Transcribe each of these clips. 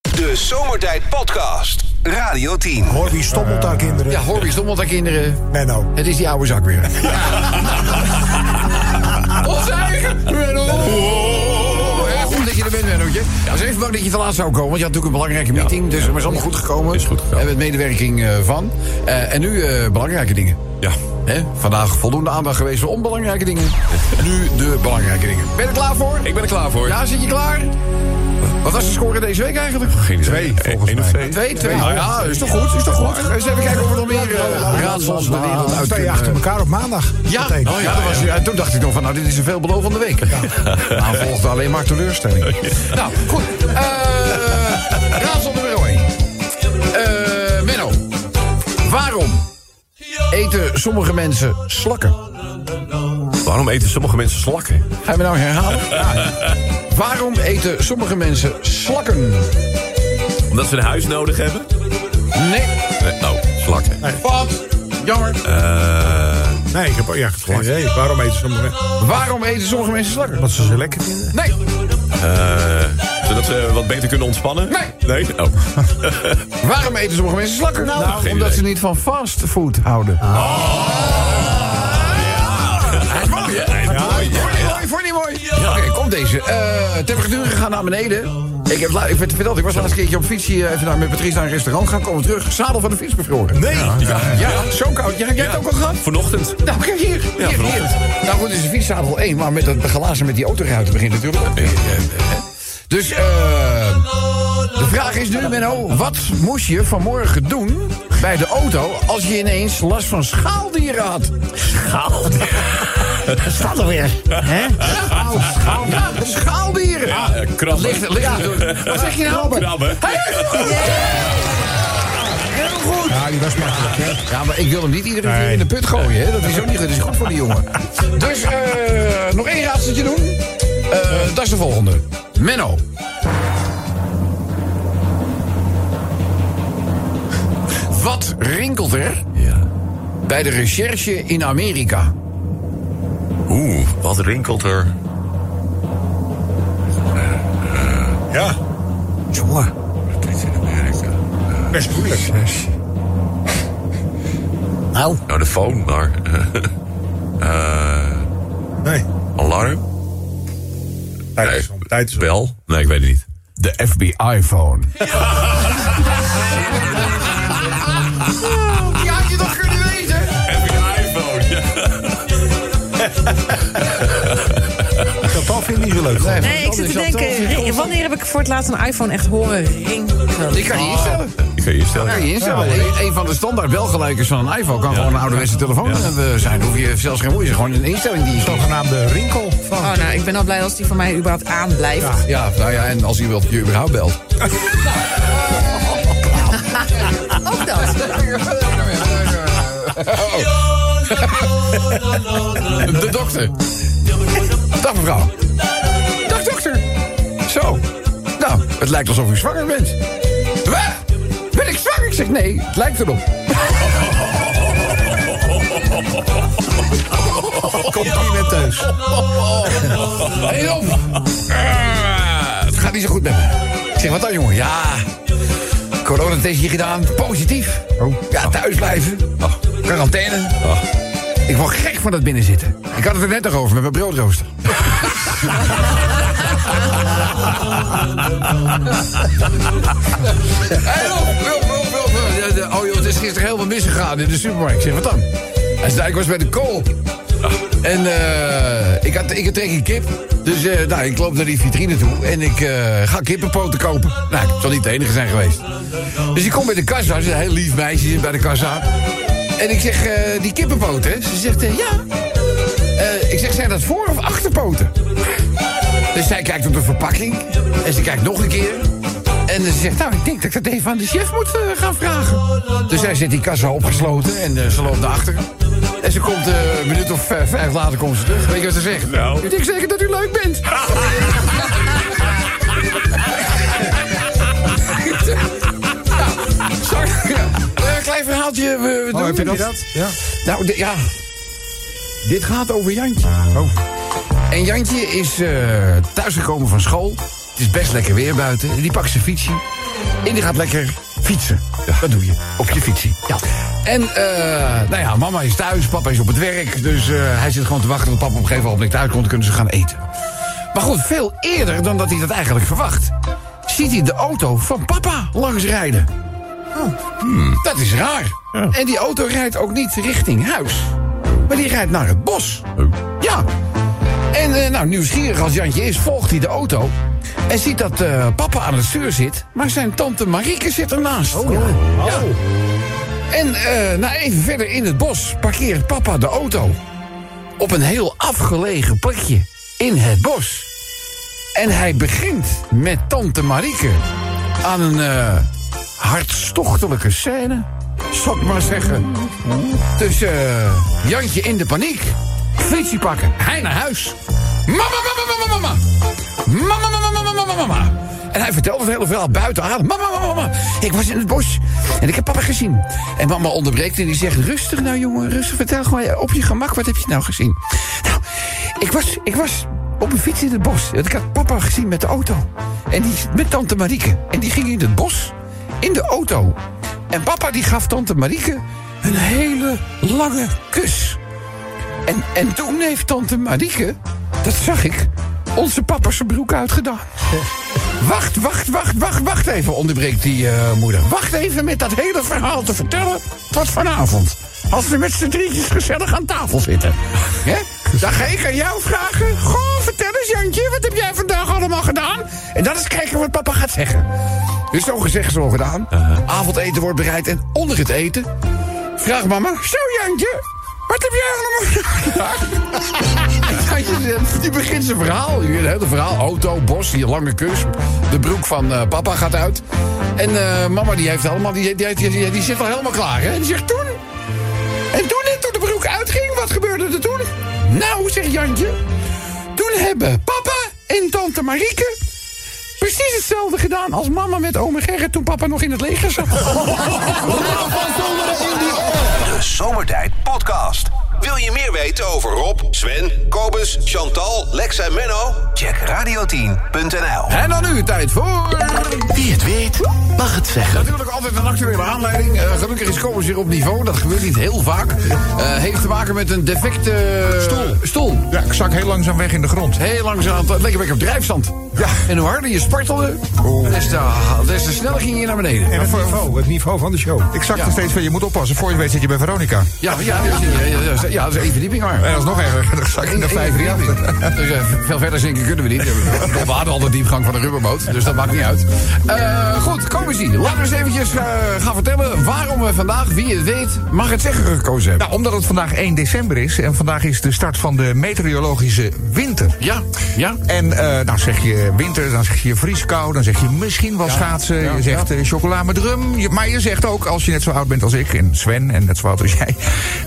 De Zomertijd Podcast. Radio 10. Hoor wie stommelt daar kinderen? Ja, Horby stommelt aan kinderen. Menno. Het is die oude zak weer. Ons eigen Menno. Ja, goed dat je er bent, Mennootje. Ik was even bang dat je te laat zou komen, want je had natuurlijk een belangrijke meeting. dus het is allemaal goed gekomen. Is goed gekomen. En met medewerking eh, van. Eh, en nu eh, belangrijke dingen. Ja. Hè? Vandaag voldoende aandacht geweest voor onbelangrijke dingen. nu de belangrijke dingen. Ben je er klaar voor? Ik ben er klaar voor. Ja, zit je klaar? Wat was de score deze week eigenlijk? Geen idee. Twee, volgens Eén of twee. mij. Twee, twee. Ja, is toch goed? Is toch goed? Eens even kijken of we nog meer eh, raadsels de wereld uit Twee kunnen. achter elkaar op maandag. Ja, oh Meteen. ja, dat was, ja, toen dacht ik nog van, nou, dit is een veelbelovende week. Nou, volgde alleen maar teleurstelling. Nou, goed. Eh raadsel nummer 1. Eh Menno, waarom eten sommige mensen slakken? Waarom eten sommige mensen slakken? Ga je me nou herhalen? Ja. Waarom eten sommige mensen slakken? Omdat ze een huis nodig hebben? Nee. Nee, oh, slakken. Wat? Jammer. Eh, Nee, ik heb ja, geen idee. Waarom eten ze hem? Waarom eten sommige mensen slakken? Wat ze ze lekker vinden. Nee. eh, zodat ze wat beter kunnen ontspannen? Nee. Nee? Oh. Waarom eten sommige mensen slakken? Nou, geen omdat idee. Ah. ze niet van fastfood houden. Oh, Ja, ja, ja. Vond je het mooi? Vond je het mooi? Oké, komt deze. Eh temperatuur gaan naar beneden. Ik heb la- ik werd verteld, ik was laatst een keertje op fiets hier eh, even naar, met Patrice naar een restaurant gaan. Komen we terug, zadel van de fiets bevroren. Nee. Ja, zo koud. Jij, jij hebt het ook al gehad? Vanochtend. Nou, kijk hier. Ja, hier, hier. Nou goed, het is een fietszadel 1, maar met dat glazen met die autoruiten begint het natuurlijk ook. weer. Dus eh, de vraag is nu, Menno, wat moest je vanmorgen doen bij de auto als je ineens last van schaaldieren had? Schaaldieren? Staat er weer. Hè? Schaal, schaal. Ja, schaaldieren. Ja, eh, krabben. Ligt, ligt, wat zeg je nou? Krabben. Hey, Heel goed. Ja, die was makkelijk. hè. Ja, maar ik wil hem niet iedere keer Nee. in de put gooien. Hè? Dat is ook niet goed. Dat is goed voor die jongen. Dus eh, nog één raadseltje doen. Eh, dat is de volgende. Menno. Wat rinkelt er Ja. bij de recherche in Amerika? Oeh, wat rinkelt er? Ja, Jongen. Wat is in Amerika? best moeilijk. Nou. Nou, de phone, maar... Nee. Alarm? Tijd is om. Tijd is om. Bel? Nee, ik weet het niet. De FBI-phone. Die had je toch kunnen weten? Heb je een iPhone? Dat vind ik niet zo leuk. Nee, ik zit te denken, ri- wanneer heb ik voor het laatst een iPhone echt horen rinkelen? Ik kan niet instellen. Ik kan je stellen. Kan je instellen. Een, een van de standaard belgeluikers van een iPhone kan gewoon een ouderwetse telefoon eh, zijn. Hoef je zelfs geen moeite, gewoon een instelling die je Zogenaamde rinkel van. Oh, nou, ik ben al blij als die van mij überhaupt aanblijft. Ja, nou ja, en als hij wilt, je überhaupt belt. Ook dat. Oh. De dokter. Dag mevrouw. Dag dokter. Zo. Nou, het lijkt alsof u zwanger bent. Wat? Ben ik zwanger? Ik zeg nee, het lijkt erop. Complimenteus. Hey op! Ah, het gaat niet zo goed met me. Ik zeg, wat dan, jongen? Ja, coronatestje gedaan, positief. Oh. Ja, thuis blijven. Quarantaine. Ik word gek van dat binnenzitten. Ik had het er net nog over met mijn broodrooster. Hey, Rob, Rob, Rob, Rob, Rob. Ja, de- Oh joh, het is gisteren heel wat misgegaan in de supermarkt. Ik zeg, wat dan? Hij zei, ik was bij de kool. En eh, ik, had, ik had tegen een kip. Dus eh, nou, ik loop naar die vitrine toe en ik eh, ga kippenpoten kopen. Nou, ik zal niet de enige zijn geweest. Dus ik kom bij de kassa, ze is een heel lief meisje zit bij de kassa. En ik zeg, eh, die kippenpoten, hè? Ze zegt, eh, ja. Eh, ik zeg, zijn dat voor- of achterpoten? Dus zij kijkt op de verpakking. En ze kijkt nog een keer. En ze zegt, nou, ik denk dat ik dat even aan de chef moet eh, gaan vragen. Dus zij zit die kassa opgesloten en eh, ze loopt naar achteren. En ze komt eh, een minuut of eh, vijf later komt ze terug. Weet je wat ze zegt? Nou. Ik denk zeker dat u leuk bent. Nou, sorry. Eh, klein verhaaltje. We, we doen Oh, heb je dit. dat? Ja. Nou, di- ja. Dit gaat over Jantje. Oh. En Jantje is eh thuisgekomen van school. Het is best lekker weer buiten. Die pakt zijn fietsje. En die gaat lekker fietsen. Dat doe je. Op je fietsie. Ja. En, eh, nou ja, mama is thuis, papa is op het werk. Dus eh, hij zit gewoon te wachten tot papa op een gegeven moment thuis komt. Dan kunnen ze gaan eten. Maar goed, veel eerder dan dat hij dat eigenlijk verwacht... ziet hij de auto van papa langsrijden. Oh. Dat is raar. En die auto rijdt ook niet richting huis. Maar die rijdt naar het bos. Ja. En eh, nou, nieuwsgierig als Jantje is, volgt hij de auto. En ziet dat eh, papa aan het stuur zit. Maar zijn tante Marieke zit ernaast. Oh, ja. En eh, nou, even verder in het bos parkeert papa de auto. Op een heel afgelegen plekje in het bos. En hij begint met tante Marieke aan een eh, hartstochtelijke scène, zal ik maar zeggen. Dus eh, Jantje in de paniek, fietsie pakken, hij naar huis. Mama, mama, mama, mama, mama. Mama, mama, mama, mama, mama. En hij vertelde het hele verhaal buiten adem. Mama, mama, mama, ik was in het bos en ik heb papa gezien. En mama onderbreekt en die zegt, rustig nou jongen, rustig, vertel gewoon op je gemak, wat heb je nou gezien? Nou, ik was, ik was op een fiets in het bos. Ik had papa gezien met de auto. En die met tante Marieke. En die ging in het bos. In de auto. En papa die gaf tante Marieke een hele lange kus. En, en toen heeft tante Marieke, dat zag ik, onze papa zijn broek uitgedaan. Wacht, wacht, wacht, wacht, wacht even, onderbreekt die eh, moeder. Wacht even met dat hele verhaal te vertellen tot vanavond. Als we met z'n drietjes gezellig aan tafel zitten. Hè? Dan ga ik aan jou vragen. Goh, vertel eens, Jantje, wat heb jij vandaag allemaal gedaan? En dan eens kijken wat papa gaat zeggen. Dus zo gezegd, zo gedaan. Avondeten wordt bereid en onder het eten... Vraag mama. Zo, Jantje, wat heb jij allemaal gedaan? Jantje, die begint zijn verhaal. Je weet het hele verhaal. Auto, bos, die lange kus. De broek van eh, papa gaat uit. En eh, mama die heeft allemaal, die, die, die, die, die zit al helemaal klaar. Hè? En die zegt toen... En toen, en toen de broek uitging, wat gebeurde er toen? Nou, zegt Jantje. Toen hebben papa en tante Marieke... Precies hetzelfde gedaan als mama met oma Gerrit toen papa nog in het leger zat. De Zomertijd Podcast. Wil je meer weten over Rob, Sven, Kobus, Chantal, Lex en Menno? Check radio10.nl. En dan nu tijd voor... Wie het weet, mag het zeggen. Natuurlijk altijd een actuele aanleiding. Eh, gelukkig is Kobus weer op niveau. Dat gebeurt niet heel vaak. Eh, heeft te maken met een defecte... Stoel. Stoel. Ja, ik zak heel langzaam weg in de grond. Heel langzaam. Het leek een beetje op drijfstand. Ja. Oh. En hoe harder je spartelde, des te, des te sneller ging je naar beneden. En het niveau, het niveau van de show. Ik zak Ja. nog steeds van, je moet oppassen. Voor je weet zit je bij Veronica. Ja, ja, ja, ja, ja, ja, ja, dat is één verdieping maar. En dat is nog erger. Dan zak ik Eén- naar één verdieping. 538. Dus eh, veel verder zinken kunnen we niet. We hadden al de diepgang van een rubberboot, dus dat maakt niet uit. Eh, goed, kom eens hier. Laten we eens eventjes eh, gaan vertellen waarom we vandaag, wie het weet, mag het zeggen gekozen hebben. Nou, omdat het vandaag 1 december is en vandaag is de start van de meteorologische winter. Nou, Ja, ja. En eh, nou zeg je winter, dan zeg je vrieskou, dan zeg je misschien wel schaatsen, ja, je zegt eh, chocola met rum. Je- maar je zegt ook, als je net zo oud bent als ik en Sven en net zo oud als jij,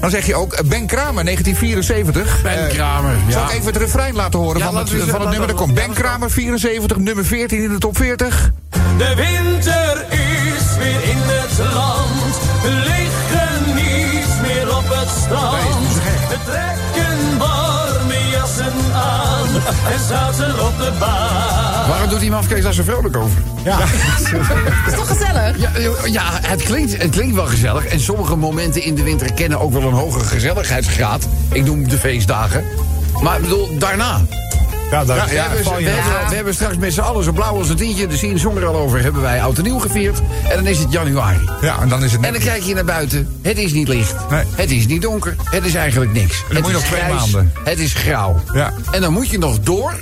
dan zeg je ook eh, Ben Kramer 1974. Ben Eh, Kramer, Zal ja. ik even het refrein laten horen Ja, van, het, laten we eens- van het laten nummer dat we- komt? Ben laten we- Kramer 74, nummer 14 in de top 40. De winter is weer in het land. We liggen niet meer op het strand. We trekken warme jassen aan en zaten op de baan. Waarom doet die mafkees daar zo vrolijk over? is toch gezellig? Ja, eh, ja het, klinkt, het klinkt wel gezellig. En sommige momenten in de winter kennen ook wel een hogere gezelligheidsgraad. Ik noem de feestdagen. Maar ik bedoel, daarna. Ja, daar we, hebben, we, hebben, we hebben straks met z'n allen zo blauw als een tientje. De zien zong er al over. Hebben wij oud en nieuw gevierd. En dan is het januari. Ja, en dan is het En net. dan kijk je naar buiten. Het is niet licht. Nee. Het is niet donker. Het is eigenlijk niks. het moet je is nog twee grijs, maanden. Het is grauw. Ja. En dan moet je nog door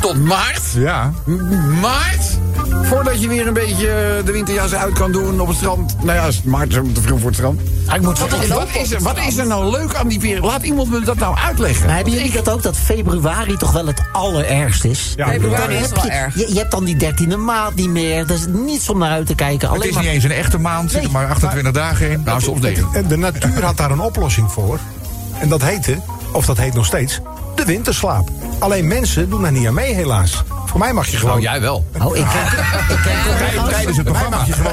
tot maart. Ja. M- Maart? Voordat je weer een beetje eh, de winterjas uit kan doen op het strand. Nou ja, is het maart is te vroeg voor het strand. Hij Ah, moet wat, En wat, is er, wat is er nou leuk aan die periode? Laat iemand me dat nou uitleggen. Maar hebben jullie dat ook, dat februari toch wel het allerergst is? Ja, Februari Dan is heb wel je, erg. Je, je hebt dan die dertiende maand niet meer. Dat is niets om naar uit te kijken. Het Alleen is maar niet eens een echte maand, zit er maar 28 dagen in. Nou, soms negen. En Eh, de natuur had daar een oplossing voor. En dat heette, of dat heet nog steeds, de winterslaap. Alleen mensen doen daar niet aan mee, helaas. Voor mij mag je gewoon. Nou, jij wel. Oh, ik ik kijk ook Tijdens het Mij programma. mag je gewoon,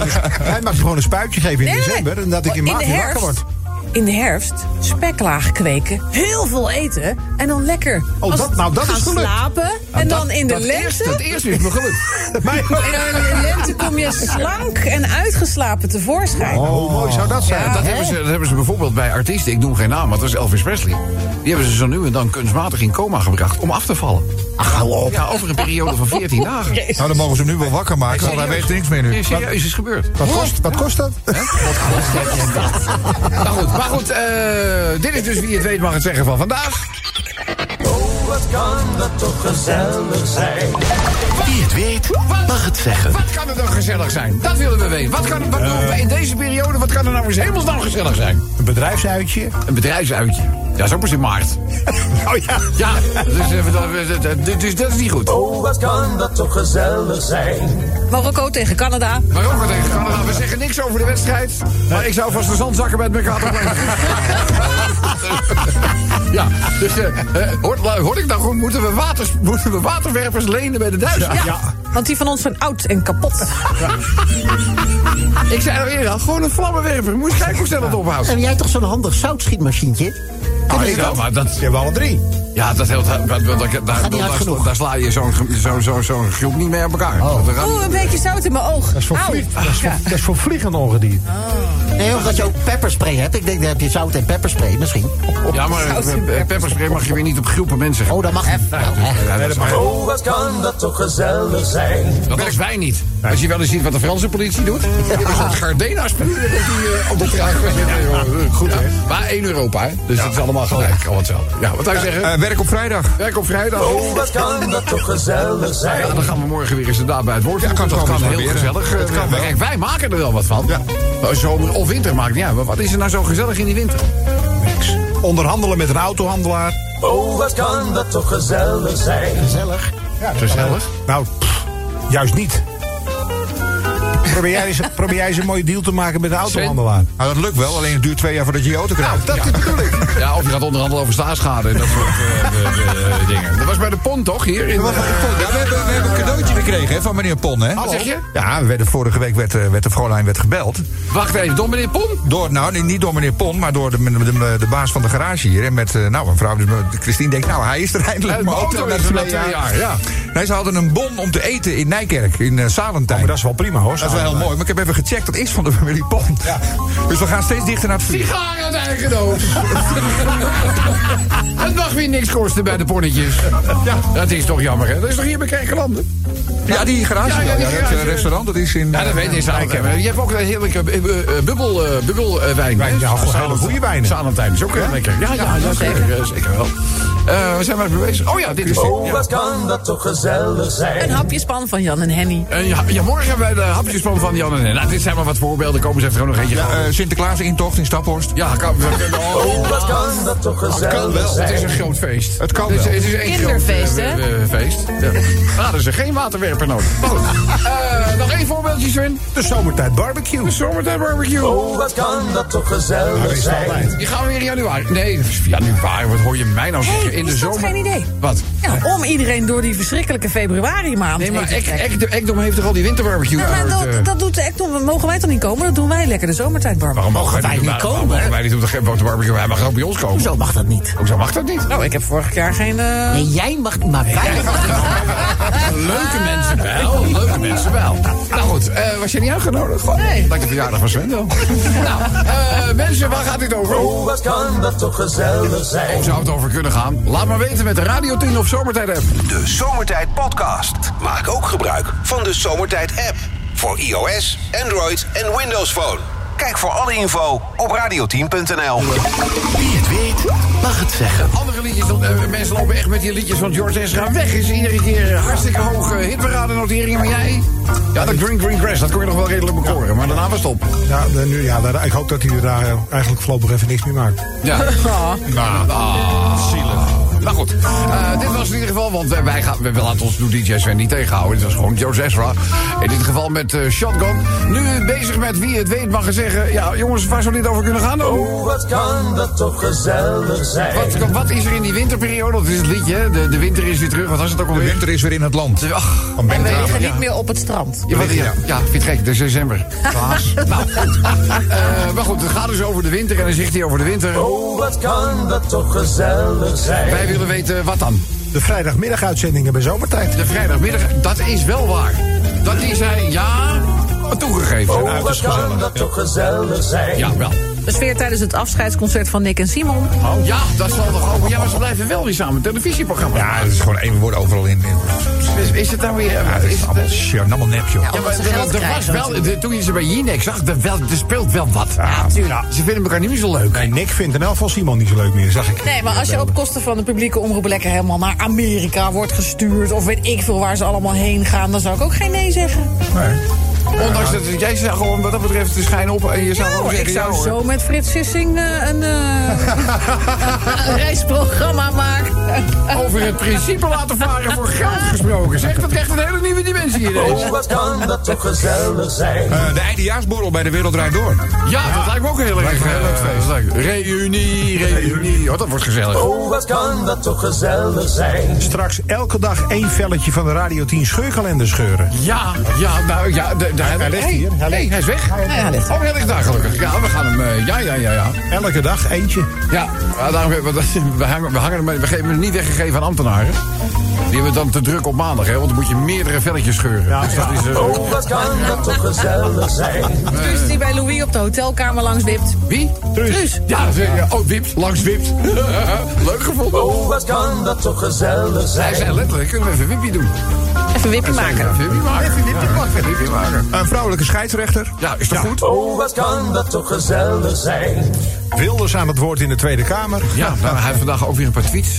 mij mag je gewoon een spuitje geven in Nee, nee, nee. december. En dat ik in de maart weer wakker herfst. word. in de herfst speklaag kweken. Heel veel eten. En dan lekker Oh, als- dat- nou, dat gaan is gelukt. Ah, slapen. en dan in de dat eerste, lente. dat eerste is me gelukt. En dan in de lente kom je slank en uitgeslapen tevoorschijn. Hoe mooi zou dat zijn? Ja, dat, hebben ze, dat hebben ze bijvoorbeeld bij artiesten, ik noem geen naam, maar dat is Elvis Presley. Die hebben ze zo nu en dan kunstmatig in coma gebracht om af te vallen. Ach, hou op. Ja, over een periode van 14 dagen. Nou, dan mogen ze hem nu wel wakker maken, Oh, want hij weet niks meer nu. Nee, serieus, is gebeurd. Wat kost, wat kost dat? Maar goed, maar goed eh, dit is dus wie het weet mag het zeggen van vandaag. Oh, wat kan dat toch gezellig zijn. Wie het weet, mag het zeggen. Wat kan er dan gezellig zijn? Dat willen we weten. Wat kan, wat doen we in deze periode, wat kan er nou eens hemelsnaam gezellig zijn? Een bedrijfsuitje? Een bedrijfsuitje. Ja, dat is ook pas in maart. Oh ja. Ja, dus, eh, dat- dat- dat- dus dat is niet goed. Oh, wat kan dat toch gezellig zijn. Marokko tegen Canada. Maar ook wat tegen Canada. We zeggen niks over de wedstrijd. Maar ik zou vast de zandzakken bij het Mercator Plein. Ja, dus eh, eh, hoort- hoor ik dan goed, moeten we, waters, moeten we waterwerpers lenen bij de Duitsers? Ja, want die van ons zijn oud en kapot. Ik zei al eerder, al, gewoon een vlammenwerper. Moet je kijken hoe snel dat ophoudt. Heb jij toch zo'n handig zoutschietmachientje? Ah, ja, maar dat, Die hebben we alle drie. ja, dat heel, dat, dat, dat- daar, niet hard daar- genoeg. daar sla je zo'n ge- zo'n zo'n zo'n groep niet mee aan elkaar. Dat gaat- Oeh, een beetje zout in mijn oog. Dat is voor, Au. vlieg- dat is voor, dat is voor vliegende ongedierte. Nee, omdat je ook pepperspray hebt. Ik denk, dan heb je zout en pepperspray misschien. Ja, maar eh, eh, pepperspray mag je weer niet op groepen mensen. Oh, dat mag niet. Nou, hè. Ja, dat- Oh, wat kan dat toch gezellig zijn. Dat als wij niet. Als je wel eens ziet wat de Franse politie doet. Die hebben zo'n Gardena spuren dat die eh, op de kraag zitten. Goed hè. Maar één Europa hè. Dus het is allemaal gelijk. Gewoon hetzelfde. Ja, wat zou je zeggen? Eh, werk op vrijdag. Werk op vrijdag. Oh, wat kan dat toch gezellig Ja, zijn. dan gaan we morgen weer eens inderdaad bij het woord. Ja, kan dat gewoon kan eens heel proberen. gezellig. eh, Het kan maar wel. Kijk, wij maken er wel wat van. Ja. Nou, Zomer of winter maakt niet uit. Maar wat is er nou zo gezellig in die winter? Onderhandelen met een autohandelaar. Oh, wat kan dat toch gezellig zijn. Gezellig. Ja, Gezellig. Nou, pff, juist niet. Probeer jij, eens, probeer jij eens een mooie deal te maken met een autohandelaar. Nou, dat lukt wel, alleen het duurt twee jaar voordat je je auto krijgt. Dat bedoel ik. Ja, of je gaat onderhandelen over staatsschade en dat soort eh, eh, eh, dingen. Dat was bij de PON toch? Hier in, eh, Ja, we hebben, we hebben een cadeautje gekregen hè, van meneer Pon, hè? Oh. Wat zeg je? Ja, we werden, vorige week werd, eh, werd de vrouwlijn werd gebeld. eh, Wacht even, door meneer PON? Door, nou, nee, niet door meneer Pon, maar door de, de, de, de baas van de garage hier. En met, eh, nou, een vrouw, dus met- Christine denkt, nou, hij is er eindelijk. Ja, mijn auto na is er na twee jaar, ja. Nee, ze hadden een bon om te eten in Nijkerk, in eh Salentijn. Oh, Maar dat is wel prima hoor. Dat is wel heel mooi, maar ik heb even gecheckt, dat is van de familie Pon. Dus we gaan steeds dichter naar het vuur. Sigaren uit eigen doos. Het mag weer niks kosten bij de ponnetjes. Ja, dat is toch jammer, hè? Dat is toch hier bij Kerkenlanden? Ja, die garage, Ja, ja, ja, die ja, dat garage. eh, restaurant, dat is in... eh, Ja, Nou, dat weet ik eigenlijk. Je hebt ook een heerlijke eh, eh, bubbel, eh, bubbelwijn. Wijn, ja, gewoon hele goede wijnen. Salentijn is ook heel lekker. Ja, ja, ja, zeker, eh, zeker wel. Eh, we zijn maar mee bezig. Oh ja, dit is... Oh, wat kan dat toch gezellig Een zijn. hapjespan van Jan en Henny. Eh, ja, ja, morgen hebben wij de hapjespan van Jan en Hen. Nou, dit zijn maar wat voorbeelden. Komen ze even gewoon nog eentje. Ja, Ja, eh, Sinterklaas-intocht in Staphorst. ja kan, we kunnen- oh, Oh, wat kan dat toch gezellig Het is een zijn. groot feest. Het kan Het is, wel. het is één Kinderfeest, groot, eh, hè? eh, eh, feest. Ja. Ah, er is er geen waterwerper nodig. Maar goed. Eh, nog één voorbeeldje, Sven. De zomertijd barbecue. De zomertijd barbecue. Oh, wat kan dat toch gezellig zijn. Die gaan we weer in januari. Nee, januari. Wat hoor je mij nou zeggen? Hey, in de is dat zomer. geen idee? Wat? Ja, om iedereen door die verschrikkelijke februari maand Nee, maar heen te Ek- trekken. Ek- de Ekdom heeft toch al die winterbarbecue? Ja, maar uit, eh, dat, dat doet de Ekdom. Mogen wij toch niet komen? Dat doen wij lekker de zomertijd, Barbara. Waarom mogen wij niet komen? Waarom mogen wij niet op de, op de barbecue? Hij mag ook bij ons komen. Zo mag dat niet. Hoezo mag dat niet? Nou, ik heb vorig jaar geen... eh, Nee, jij mag niet, maar wij Leuke mensen wel. Leuke mensen wel. Nou goed, eh, was je niet uitgenodigd? Goh, Nee. Lijkt de verjaardag van Sven wel. nou, eh, mensen, waar gaat dit over? Oh, wat kan dat toch gezellig zijn. Hoe Oh, zou het over kunnen gaan? Laat maar weten met de Radio 10 of Zomertijd app. De Zomertijd Podcast. Maak ook gebruik van de Zomertijd app. Voor iOS, Android en Windows Phone. Kijk voor alle info op radioteam.nl. Wie het weet, mag het zeggen. Andere liedjes, want, eh, mensen lopen echt met die liedjes van George Ezra weg. Is iedere keer hartstikke hoge hitparadennoteringen. Maar jij? Ja, dat Green Green Grass, dat kon je nog wel redelijk bekoren. Maar daarna was het op. Ja, de- nu, ja, daar- ik hoop dat hij er daar eh, eigenlijk voorlopig even niks mee maakt. Ja. Nou, ah, zielig. Maar goed, eh, dit was in ieder geval, want wij, wij gaan, we laten ons door DJ Sven niet tegenhouden. Dit was gewoon Joe Zesra. In dit geval met eh, Shotgun. Nu bezig met wie het weet mag zeggen. Ja, jongens, waar zou dit over kunnen gaan? Oh. Oh, wat kan dat toch gezellig zijn? Wat, wat is er in die winterperiode? Dat is het liedje, hè? de, de winter is weer terug. Wat was het ook De alweer? winter is weer in het land. Ach, Van Ben We Kramer. liggen niet meer op het strand. Ja, wat- ja, ja, vind je het gek, het is december. nou, goed. Eh, maar goed, het gaat dus over de winter en dan zegt hij over de winter. Oh, wat kan dat toch gezellig zijn? Wij willen weten wat dan. De vrijdagmiddaguitzendingen bij zomertijd. De vrijdagmiddag, dat is wel waar. Dat is hij, ja, toegegeven. Oh, wat kan dat toch gezellig zijn? Ja, wel. De sfeer tijdens het afscheidsconcert van Nick en Simon. Ja, dat zal toch over. Ja, maar ze blijven wel weer samen. Televisieprogramma. Ja, het is gewoon één woord overal in. in- is, is het dan weer. Ja, Ja, dat is is het, allemaal, eh, shit, allemaal nep, joh. ja, maar Omdat ze er- geld er was krijgen wel, de- toen je ze bij Jinek zag, er, wel, er speelt wel wat. Ja, tuurlijk. Ze vinden elkaar niet meer zo leuk. Nee, Nick vindt een elf van Simon niet zo leuk meer, zag ik. Nee, maar als je op kosten van de publieke omroep lekker helemaal naar Amerika wordt gestuurd... of weet ik veel waar ze allemaal heen gaan, dan zou ik ook geen nee zeggen. Ondanks dat jij zei gewoon wat dat betreft de schijn op. En je zou Ja, gewoon hoor, ik zeggen, ja, zou hoor. zo met Frits Sissing eh, een, eh, een reisprogramma maken. over het principe laten varen voor geld gesproken. Zeg, dat echt een hele nieuwe dimensie hier Oh, wat kan dat toch gezellig zijn? Eh, de eindejaarsborrel bij de Wereld Draait Door. Ja, dat lijkt me ook heel erg. Heel leuk feest. Reunie, reunie. Oh, dat wordt gezellig. Oh, wat kan dat toch gezellig zijn? Straks elke dag één velletje van de Radio 10 scheurkalender scheuren. Ja, ja, nou ja. de- de- hij ligt hier, hij Nee, ligt. hij is weg. hij ligt. Oh, hij ligt daar gelukkig. Ja, we gaan hem... eh, ja, ja, ja, ja. Elke dag eentje. Ja, ja, daarom, hebben we, dat- we, hangen, we, hangen, hem- we geven hem niet weggegeven aan ambtenaren. Die hebben het dan te druk op maandag, hè, want dan moet je meerdere velletjes scheuren. Ja, dus dat is, eh, Oh, wat kan dat toch gezellig zijn? Dus die bij Louis op de hotelkamer langs wipt. wie? Truus. Ja, ze- ja, oh, wipt, langs wipt. Leuk gevonden. Oh, wat kan dat toch gezellig Hij zijn? zei letterlijk, kunnen we even wippie doen. Even wippie maken. Even wippie maken. Even wippie maken. wippie maken. Een vrouwelijke scheidsrechter. Ja, is toch goed? Oh, wat kan dat toch gezellig zijn? Wilders aan het woord in de Tweede Kamer. Ja, nou, hij heeft vandaag ook weer een paar tweets.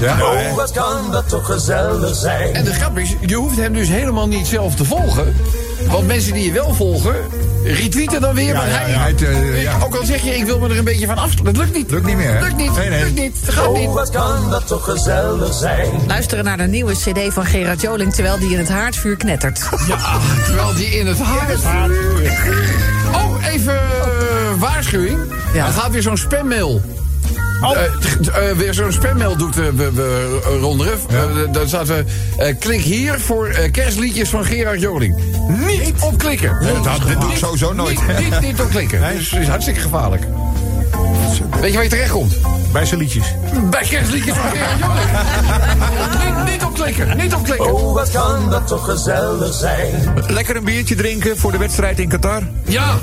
Ja. Oh, wat kan dat toch gezellig zijn? En de grap is, je hoeft hem dus helemaal niet zelf te volgen. Want mensen die je wel volgen, retweeten dan weer. want ja, hij, ja. Hij, eh, ja. Ook al zeg je, ik wil me er een beetje van af. Dat lukt niet. Lukt niet meer, hè? Lukt niet. Nee, nee. Lukt niet. Dat gaat niet. Oh, wat kan dat toch gezellig zijn? Luisteren naar de nieuwe cd van Gerard Joling terwijl die in het haardvuur knettert. Ja, Ah, terwijl die in het haar. Oh, even eh, waarschuwing. Ja. Er gaat weer zo'n spammail. Oh. Eh, t- eh, weer zo'n spammail doet eh, we, we, eh, Ron Ruff. Eh, daar staat eh, eh, klik hier voor eh, kerstliedjes van Gerard Joling. Niet op klikken. dat- dit doe ik sowieso nooit. Niet, niet, niet op klikken. Dus het is hartstikke gevaarlijk. Weet je waar je terechtkomt? Bij zijn liedjes. Bij kerstliedjes van Gerard Joling. niet, niet op klikken. Niet op klikken. Oh, wat kan dat toch gezellig zijn? Lekker een biertje drinken voor de wedstrijd in Qatar. Ja.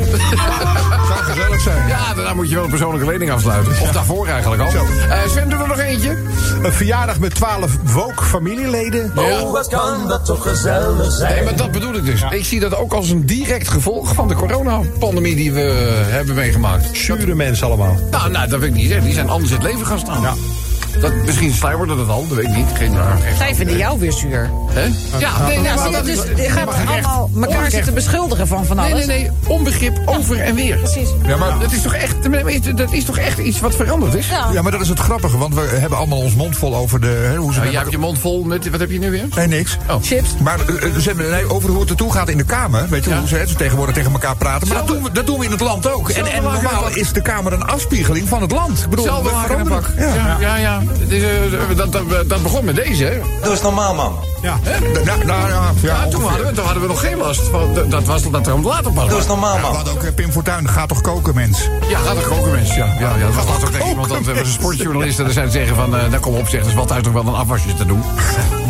Zou gezellig zijn. Ja, daarna moet je wel een persoonlijke lening afsluiten. Of daarvoor eigenlijk al. Zo. Eh Sven, doen we nog eentje? Een verjaardag met 12 woke familieleden. Oh, wat kan dat toch gezellig Nee, zijn? maar dat bedoel ik dus. Ik zie dat ook als een direct gevolg van de coronapandemie die we eh, hebben meegemaakt. Zure mensen allemaal. Nou, nou, dat wil ik niet zeggen. Die zijn anders in het leven gaan staan. Ja. Dat, misschien sluimerde dat al, dat weet ik niet. Geen, Zij vinden jou weer zuur. Nou, Hè? Ja, nee, nou, Ja, zie je, dat dus is- je gaat maar echt. allemaal elkaar Onrecht. zitten beschuldigen van van Nee, nee, alles. nee. Onbegrip over en weer. Precies. Ja, maar dat is toch echt, dat is toch echt iets wat veranderd is? Ja. Ja, maar dat is het grappige, want we hebben allemaal ons mond vol over de... Hè, hoe ze Nou, met jij hebt je mond vol met, wat heb je nu weer? Nee, niks. Chips. Maar eh, eh, ze hebben, nee, over hoe het ertoe gaat in de Kamer. Weet je hoe ze, hè, ze tegenwoordig tegen elkaar praten. Maar dat doen, we, dat doen we in het land ook. En, Zelden en maken normaal we is de Kamer een afspiegeling van het land. Ik bedoel, Zelfde we haar in een veranderen- pak. Ja, ja, ja. Het is, eh, dat, dat, dat begon met deze, hè? Ja. Ja, nou, nou, ja, Ja, ja, toen, hadden we, toen hadden we nog geen last. Van, dat, dat was dat er later pas. was. Ja, we hadden ook eh, Pim Fortuyn, ga toch koken, mens. Ja, gaat er ook een mens. Ja, ja, ja, dat was later tegen iemand. eh, koken, Dat was een mens. sportjournalist. En dan zei zeggen van, eh nou kom op, zeg, er is wel thuis nog wel een afwasje te doen.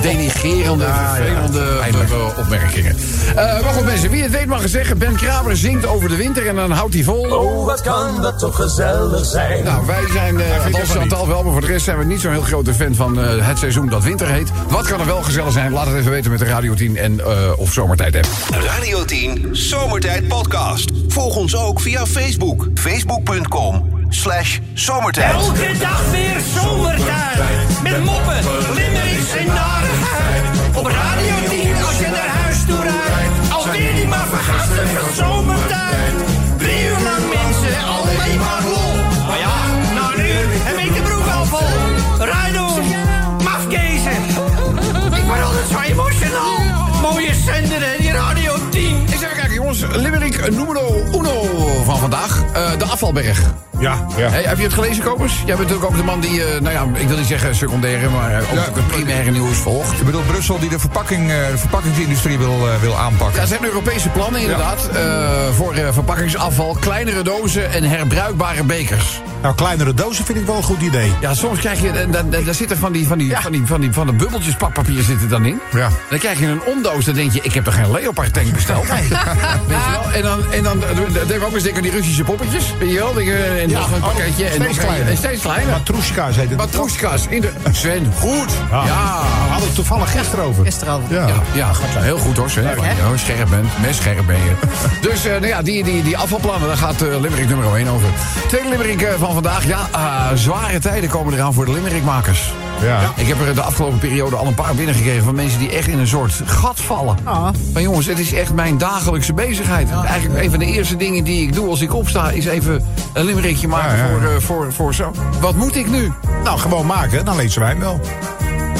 Denigerende, vervelende eh, opmerkingen. Eh maar goed, mensen, wie het weet mag het zeggen. Ben Kramer zingt over de winter en dan houdt hij vol. Oh, wat kan dat toch gezellig zijn? Nou, wij zijn, eh als Chantal wel, maar voor de rest zijn we niet zo'n heel grote fan van eh, het seizoen dat winter heet. Wat kan er wel gezellig zijn? Laat het even weten met de Radio 10 en eh, of Zomertijd app. Radio 10 Zomertijd Podcast. Volg ons ook via Facebook. Facebook.com slash zomertijd. Elke dag weer zomertijd. Met moppen, limmerings en narigheid. Op Radio 10 als je naar huis toe rijdt. Alweer die maar vergasten van zomertijd. Drie uur lang mensen, nou, alleen maar lol. Maar ja, na een uur heb ik de broek al vol. Rijd door. was Limerick numero uno van vandaag. Eh, de afvalberg. Ja. Hey, heb je het gelezen, Kopers? Jij bent natuurlijk ook de man die, eh, nou ja, ik wil niet zeggen secundaire, maar eh, ook het primaire nieuws volgt. Ik bedoel, Brussel die de, verpakking, eh, de verpakkingsindustrie wil, eh, wil aanpakken. Ja, er zijn Europese plannen inderdaad eh, voor eh, verpakkingsafval, kleinere dozen en herbruikbare bekers. Nou, kleinere dozen vind ik wel een goed idee. Ja, soms krijg je, en dan, dan- daar zitten van die, van die, van die, van die, van de bubbeltjes pakpapier zitten dan in. Ja. Dan krijg je een omdoos, dan denk je, ik heb toch geen Leopard tank besteld? Weet je wel? En dan, en dan, dan denk ik ook eens denk aan die Russische poppetjes, weet je wel? Denk, eh, en nog een pakketje. en nog steeds een- kleiner. en steeds kleiner. Matroeska zei het. Matroeskas. in de- Sven, goed. Ja. We hadden het toevallig gisteren over. Gisteravond. Ja. Ja, ja, heel goed hoor, Sven. Ja, hè? hoor, scherp bent, mes scherp ben je. dus eh, nou ja, die, die, die afvalplannen, daar gaat eh Limerick nummer 1 over. Tweede Limerick eh, van vandaag. Ja, eh, zware tijden komen eraan voor de Limerickmakers. Ja. Ik heb er de afgelopen periode al een paar binnengekregen van mensen die echt in een soort gat vallen. Ah. Maar jongens, het is echt mijn dagelijkse bezigheid. Eigenlijk een van de eerste dingen die ik doe als ik opsta, is even een limerickje maken Ja, ja, ja. Voor, eh, voor, voor zo. Wat moet ik nu? Nou, gewoon maken, dan lezen wij hem wel.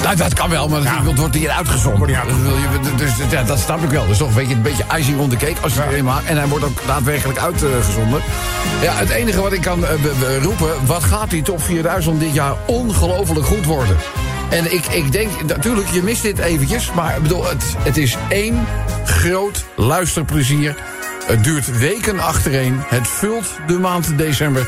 Nou, dat kan wel, maar dat wordt hier uitgezonden. Wordt hier uitgezonden. Dat wil je- Dus ja, dat snap ik wel. Dus toch weet je, een beetje icing on the cake als je het erin maakt. En hij wordt ook daadwerkelijk uitgezonden. Ja, het enige wat ik kan eh, be- be- roepen... wat gaat die top 4000 dit jaar ongelooflijk goed worden? En ik, ik denk, natuurlijk, je mist dit eventjes... maar ik bedoel, het, het is één groot luisterplezier. Het duurt weken achtereen. Het vult de maand december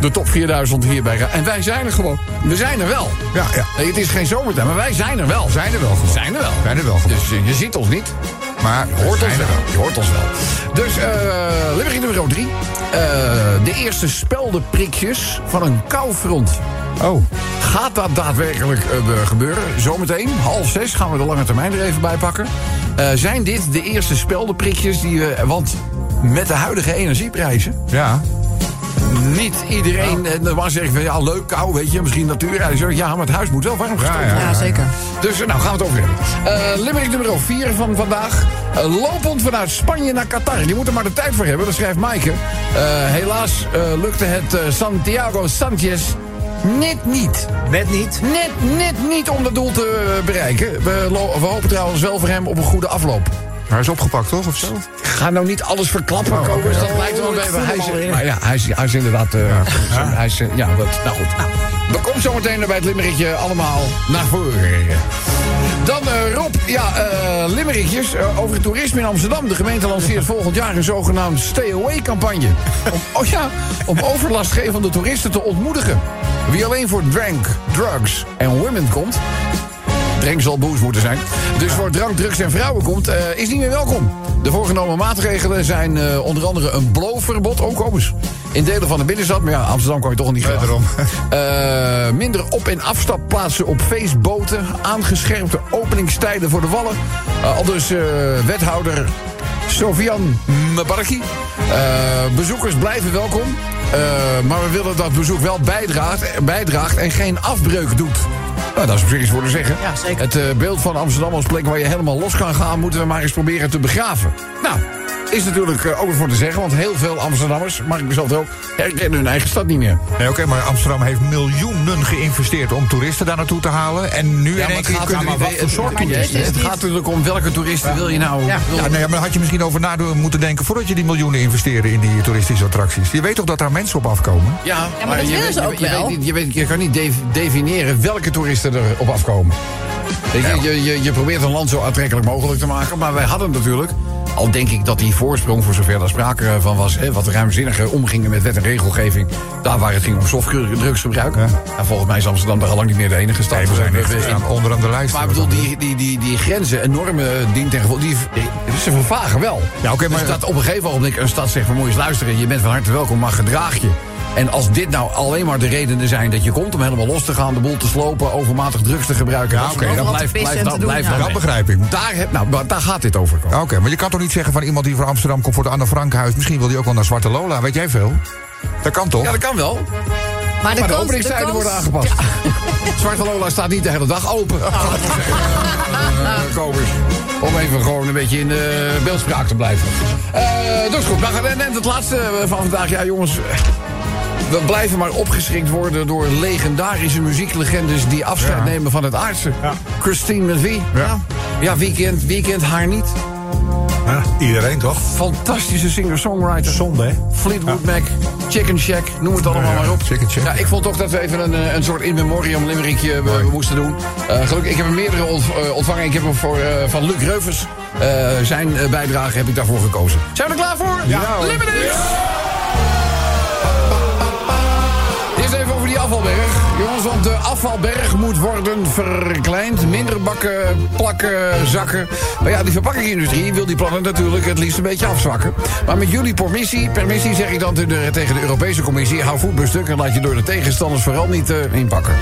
de top 4000 hierbij. Ra- En wij zijn er gewoon. We zijn er wel. Ja, ja. Nee, het is geen zomertijd, maar wij zijn er wel. Zijn er wel gewoon. Zijn er wel. Zijn er wel gewoon. Dus eh, je ziet ons niet. Maar Je hoort ons zijn wel. er Je hoort ons wel. Dus eh Limburg nummer 3. de eerste speldenprikjes van een koufront. wel. Oh. Gaat dat daadwerkelijk eh, gebeuren? Zometeen, half zes, gaan we de lange termijn er even bij pakken. Eh, zijn dit de eerste speldenprikjes die we... Want met de huidige energieprijzen... Ja. Niet iedereen... En dan was zeggen van, ja, leuk, kou, weet je, misschien natuur. En zo, ja, maar het huis moet wel warm gestoken ja, Ja, zeker. Dus eh, nou, gaan we het over hebben. Eh Limerick nummer 4 van vandaag. Eh, lopend vanuit Spanje naar Qatar. Die moet er maar de tijd voor hebben, dat schrijft Maaike. Eh, helaas eh, lukte het eh, Santiago Sanchez net niet. Net niet. Net, net niet om dat doel te eh, bereiken. We, lo- we hopen trouwens wel voor hem op een goede afloop. Hij is opgepakt, toch? Of zo? Ga nou niet alles verklappen, oh, Dat lijkt wel een beetje... Hij is, maar ja, hij is, hij is inderdaad... eh, Hij is, eh, ja, dat, nou goed. Nou, dat komt zometeen bij het limmerikje allemaal naar voren. Dan eh, Rob, ja, eh limmerikjes eh, over het toerisme in Amsterdam. De gemeente lanceert volgend jaar een zogenaamd stay-away-campagne. Om, oh ja, om overlastgevende toeristen te ontmoedigen. Wie alleen voor drank, drugs en women komt... Drank zal boos moeten zijn. Dus voor drank, drugs en vrouwen komt, eh, is niet meer welkom. De voorgenomen maatregelen zijn eh, onder andere een blowverbod, ook komers. In delen van de binnenstad, maar ja, Amsterdam kan je toch niet graag. daarom. Eh, minder op- en afstapplaatsen op feestboten. Aangescherpte openingstijden voor de wallen. Eh, al dus eh, wethouder Sofian Mbaraki. Eh, bezoekers blijven welkom. Eh, maar we willen dat bezoek wel bijdraagt, bijdraagt en geen afbreuk doet. Nou, dat is op zich iets voor te zeggen. Ja, zeker. Het eh, beeld van Amsterdam als plek waar je helemaal los kan gaan... moeten we maar eens proberen te begraven. Nou, is natuurlijk eh, ook wat voor te zeggen... want heel veel Amsterdammers, mag ik mezelf er ook... herkennen hun eigen stad niet meer. Nee, oké, maar Amsterdam heeft miljoenen geïnvesteerd om toeristen daar naartoe te halen. En nu in maar één keer kunnen maar die- wat voor soort toeristen? Het gaat natuurlijk om welke toeristen wil je nou... wil- Ja, nou ja, maar daar had je misschien over na moeten denken voordat je die miljoenen investeren in die toeristische attracties. Je weet toch dat daar mensen op afkomen? Ja, maar dat je willen weet- ze je ook weet- je wel. weet niet- Je, weet, je kan niet def- definiëren welke toeristen er op afkomen. Weet je, je, je, je probeert een land zo aantrekkelijk mogelijk te maken. Maar wij hadden natuurlijk, al denk ik dat die voorsprong... voor zover daar sprake eh, van was, hè, wat ruimzinniger omgingen met wet en regelgeving... daar waar het ging om softdrugsgebruik. En volgens mij is Amsterdam daar al lang niet meer de enige stad. we zijn Eh, echt in- staan onderaan de lijst. Maar ik bedoel, die, die, die, die grenzen, enorme dient en gevolg, die, die- ze vervagen wel. Ja, oké, maar- dus dat op een gegeven ogenblik een stad zegt van moet je eens luisteren, je bent van harte welkom, maar gedraag je. En als dit nou alleen maar de redenen zijn dat je komt om helemaal los te gaan, de boel te slopen, overmatig drugs te gebruiken, ja, oké, dan dat- blijft Overal te blijft pissen en dan te doen, blijft ja. dan Dat weg. begrijp ik. Daar, heb, nou, maar daar gaat dit over komen. Ah, Oké, maar je kan toch niet zeggen van iemand die van Amsterdam komt voor de Anne Frankhuis. Misschien wil die ook wel naar Zwarte Lola, weet jij veel? Dat kan toch? Ja, dat kan wel. Maar de, maar de kans- openingstijden de kans- worden aangepast. Zwarte Lola staat niet de hele dag open. Oh. Eh, Kobus. Om even gewoon een beetje in de beeldspraak te blijven. Eh dus goed, nou, en- en het laatste eh, van vandaag. Ja, jongens. We blijven maar opgeschrikt worden door legendarische muzieklegendes... die afscheid Ja. nemen van het aardse. Christine McVie. Ja. ja weekend, weekend haar niet. Iedereen toch? Fantastische singer-songwriter. Zonde, hè? Fleetwood Mac, Chicken Shack, noem het allemaal maar op. Chicken Shack, Ja, ik vond toch dat we even een, eh, een soort in memoriam limerickje eh, we moesten doen. Eh, gelukkig, ik heb er meerdere ont- eh, ontvangen. Ik heb hem voor, eh, van Luc Reuvers. eh, zijn eh, bijdrage heb ik daarvoor gekozen. Zijn we er klaar voor? Ja. Limericks! Eerst even over die afvalberg. Jongens, want de afvalberg moet worden verkleind. Minder bakken, plakken, zakken. Maar ja, die verpakkingsindustrie wil die plannen natuurlijk het liefst een beetje afzwakken. Maar met jullie permissie, permissie zeg ik dan te- de- tegen de Europese Commissie... hou voet bij stuk en laat je door de tegenstanders vooral niet eh, inpakken.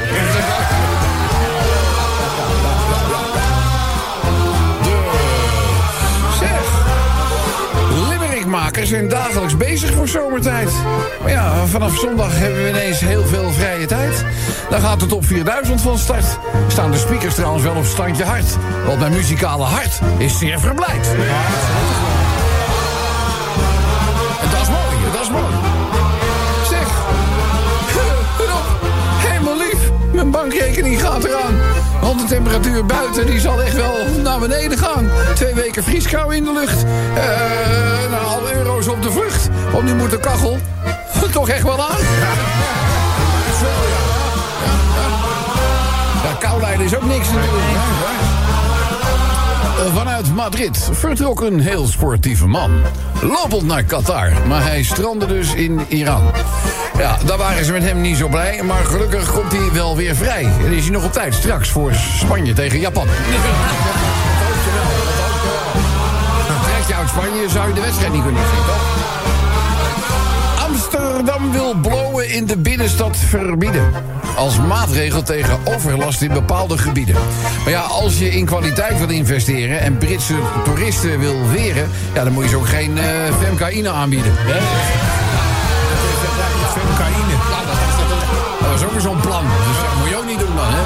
Zeg, Limerickmakers zijn dagelijks bezig voor zomertijd. Maar ja, vanaf zondag hebben we ineens heel veel vrije tijd. Dan gaat de top 4000 van start. Staan de speakers trouwens wel op standje hard. Want mijn muzikale hart is zeer verblijd. En dat is mooi, dat is mooi. Zeg, let op. Helemaal lief. Mijn bankrekening gaat eraan. Want de temperatuur buiten die zal echt wel naar beneden gaan. Twee weken vrieskou in de lucht. Eh, nou, alle euro's op de vlucht. Want nu moet de kachel toch echt wel aan. Is wel, ja. Ja, ja. Ja, kou lijden is ook niks natuurlijk. Eh, Vanuit Madrid vertrok een heel sportieve man. Lopend naar Qatar, maar hij strandde dus in Iran. Ja, daar waren ze met hem niet zo blij, maar gelukkig komt hij wel weer vrij. En is hij nog op tijd straks voor Spanje tegen Japan. Dat hoop je wel, dat hoop je wel. Trek je uit Spanje, zou je de wedstrijd niet kunnen zien, toch? Amsterdam wil blowen in de binnenstad verbieden. Als maatregel tegen overlast in bepaalde gebieden. Maar ja, als je in kwaliteit wil investeren en Britse toeristen wil weren, ja, dan moet je ze ook geen eh femcaïne aanbieden. Hè? Femcaïne. Ja, dat is- Dat was ook weer zo'n plan. Dus dat moet je ook niet doen dan, hè?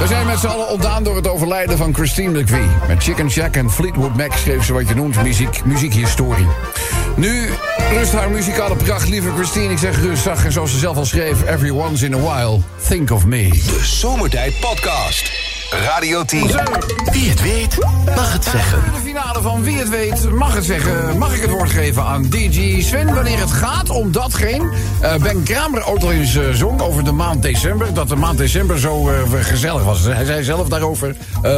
We zijn met z'n allen ontdaan door het overlijden van Christine McVie. Met Chicken Shack en Fleetwood Mac schreef ze wat je noemt muziek, muziekhistorie. Nu rust haar muzikale pracht, lieve Christine. Ik zeg rust, zag en zoals ze zelf al schreef... Every once in a while, think of me. De Zomertijd Podcast. Radio 10. Wie het weet, mag het zeggen. De finale van Wie het weet mag het zeggen. Mag ik het woord geven aan DJ Sven wanneer het gaat om datgene. eh, ben Kramer ook al eens eh, zong over de maand december. Dat de maand december zo eh, gezellig was. Hij zei zelf daarover. eh,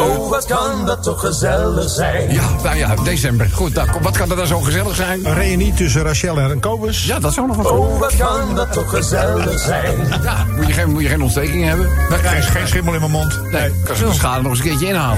Oh, wat kan dat toch gezellig zijn? ja, nou ja, december. Goed, nou, kom, wat kan er dan zo gezellig zijn? Een reunie tussen Rachel en Kobus. Ja, dat zou nog wel Oh, wat kan dat toch gezellig zijn? Ja, moet je geen, moet je geen ontsteking hebben. Geen, geen schimmel in mijn mond. Nee, kan ze de schade nog eens een keertje inhalen.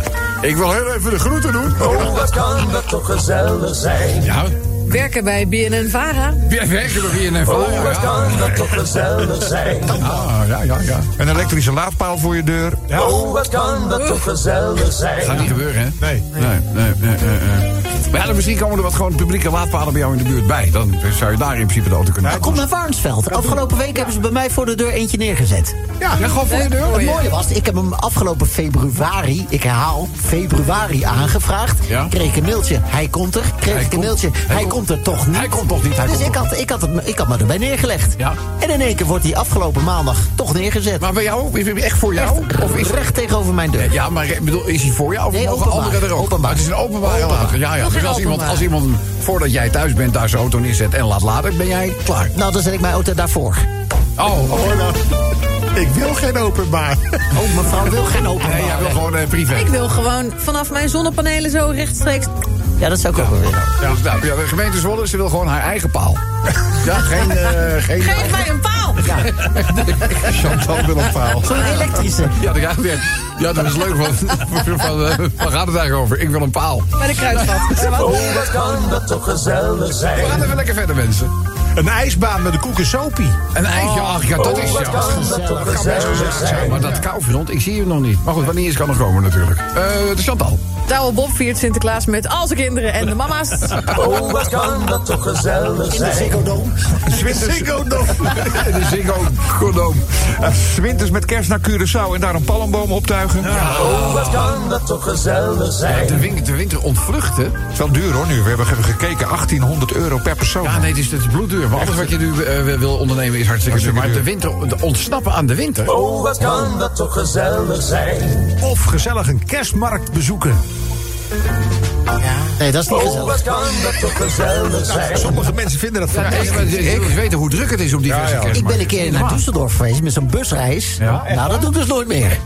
Ik wil heel even de groeten doen. Oh, wat kan dat toch gezellig zijn? Ja, Werken bij BNNVARA. weer werken we hier in Vara, Oh, wat ja. kan dat toch gezellig zijn? Ah, ja, ja, ja. Een elektrische laadpaal voor je deur. Oh, wat kan dat toch gezellig Gaat zijn? niet gebeuren, hè? Nee. Nee, nee, nee, nee, nee. Maar ja, dan misschien komen er wat gewoon publieke laadpalen bij jou in de buurt bij. Dan zou je daar in principe de auto kunnen Kom naar Warnsveld. Afgelopen week hebben ze bij mij voor de deur eentje neergezet. Ja, Oh, ja, gewoon voor je deur. Het mooie was, ik heb hem afgelopen februari, ik herhaal, februari aangevraagd. Ja. Kreeg ik een mailtje, hij komt er. Kreeg Hij ik een komt- mailtje, hij hij, komt- komt, er toch niet. Hij komt toch niet, hij dus komt ik toch had, ik, had het, ik had me erbij neergelegd. Ja. En in één keer wordt hij afgelopen maandag toch neergezet. Maar bij jou? Is hij echt voor jou? Of is recht tegenover mijn deur. Ja, maar ik bedoel, is hij voor jou? Of Nee, mogen openbaar. anderen er ook? Openbaar. Maar Het is een openbare lader. Ja, ja. Nog Dus geen als iemand, openbaar. als iemand, voordat jij thuis bent, daar zijn auto neerzet en laat laden, ben jij klaar. Nou, dan zet ik mijn auto daarvoor. Oh, oh. Ik wil geen openbaar. Oh, mevrouw wil geen openbaar. nee, jij wil gewoon eh, Ik privé. wil gewoon vanaf mijn zonnepanelen zo rechtstreeks. Ja, dat zou ik ook wel willen. Ja. Nou, ja, de gemeente Zwolle, ze wil gewoon haar eigen paal. Ja, geen... eh geen... Geef mij een paal! Chantal wil een paal. Zo'n elektrische. Ja, dat, ja, ja, dat is leuk. Want, van, eh, waar gaat het eigenlijk over? Ik wil een paal. Bij de kruidvat. Oh, wat kan dat toch gezellig We zijn? gaan even lekker verder, mensen. Een ijsbaan met een koekensopie. Een ijsje, ach ja, dat is Oh, wat ja. kan dat toch gezellig zijn? Maar dat koufront, ik zie je nog niet. Maar goed, wanneer is kan nog komen natuurlijk. Eh, de Chantal. Douwe Bob viert Sinterklaas met al zijn kinderen en de mama's. Oh, wat kan dat toch gezellig zijn. Ziggo-dom. Ziggo-dom. De Ziggo-dom. Winters met kerst naar Curaçao en daar een palmboom optuigen. Oh, wat kan dat toch gezellig zijn. De winter, de winter ontvluchten. Het is wel duur hoor nu. We hebben gekeken 1800 euro per persoon. Ja, nee, het is, het is bloedduur. Maar alles wat je nu eh, wil ondernemen is hartstikke duur. Maar de winter, de ontsnappen aan de winter. Oh, wat kan dat toch gezellig zijn. Of gezellig een kerstmarkt bezoeken. Nee, dat is niet Oh, gezellig. wat kan dat toch gezellig zijn. Sommige mensen vinden dat Ja, fantastisch. ik wil eens weten hoe druk het is op die ja, Ik ben een keer naar Düsseldorf geweest met zo'n busreis. nou, dat doe ik dus nooit meer.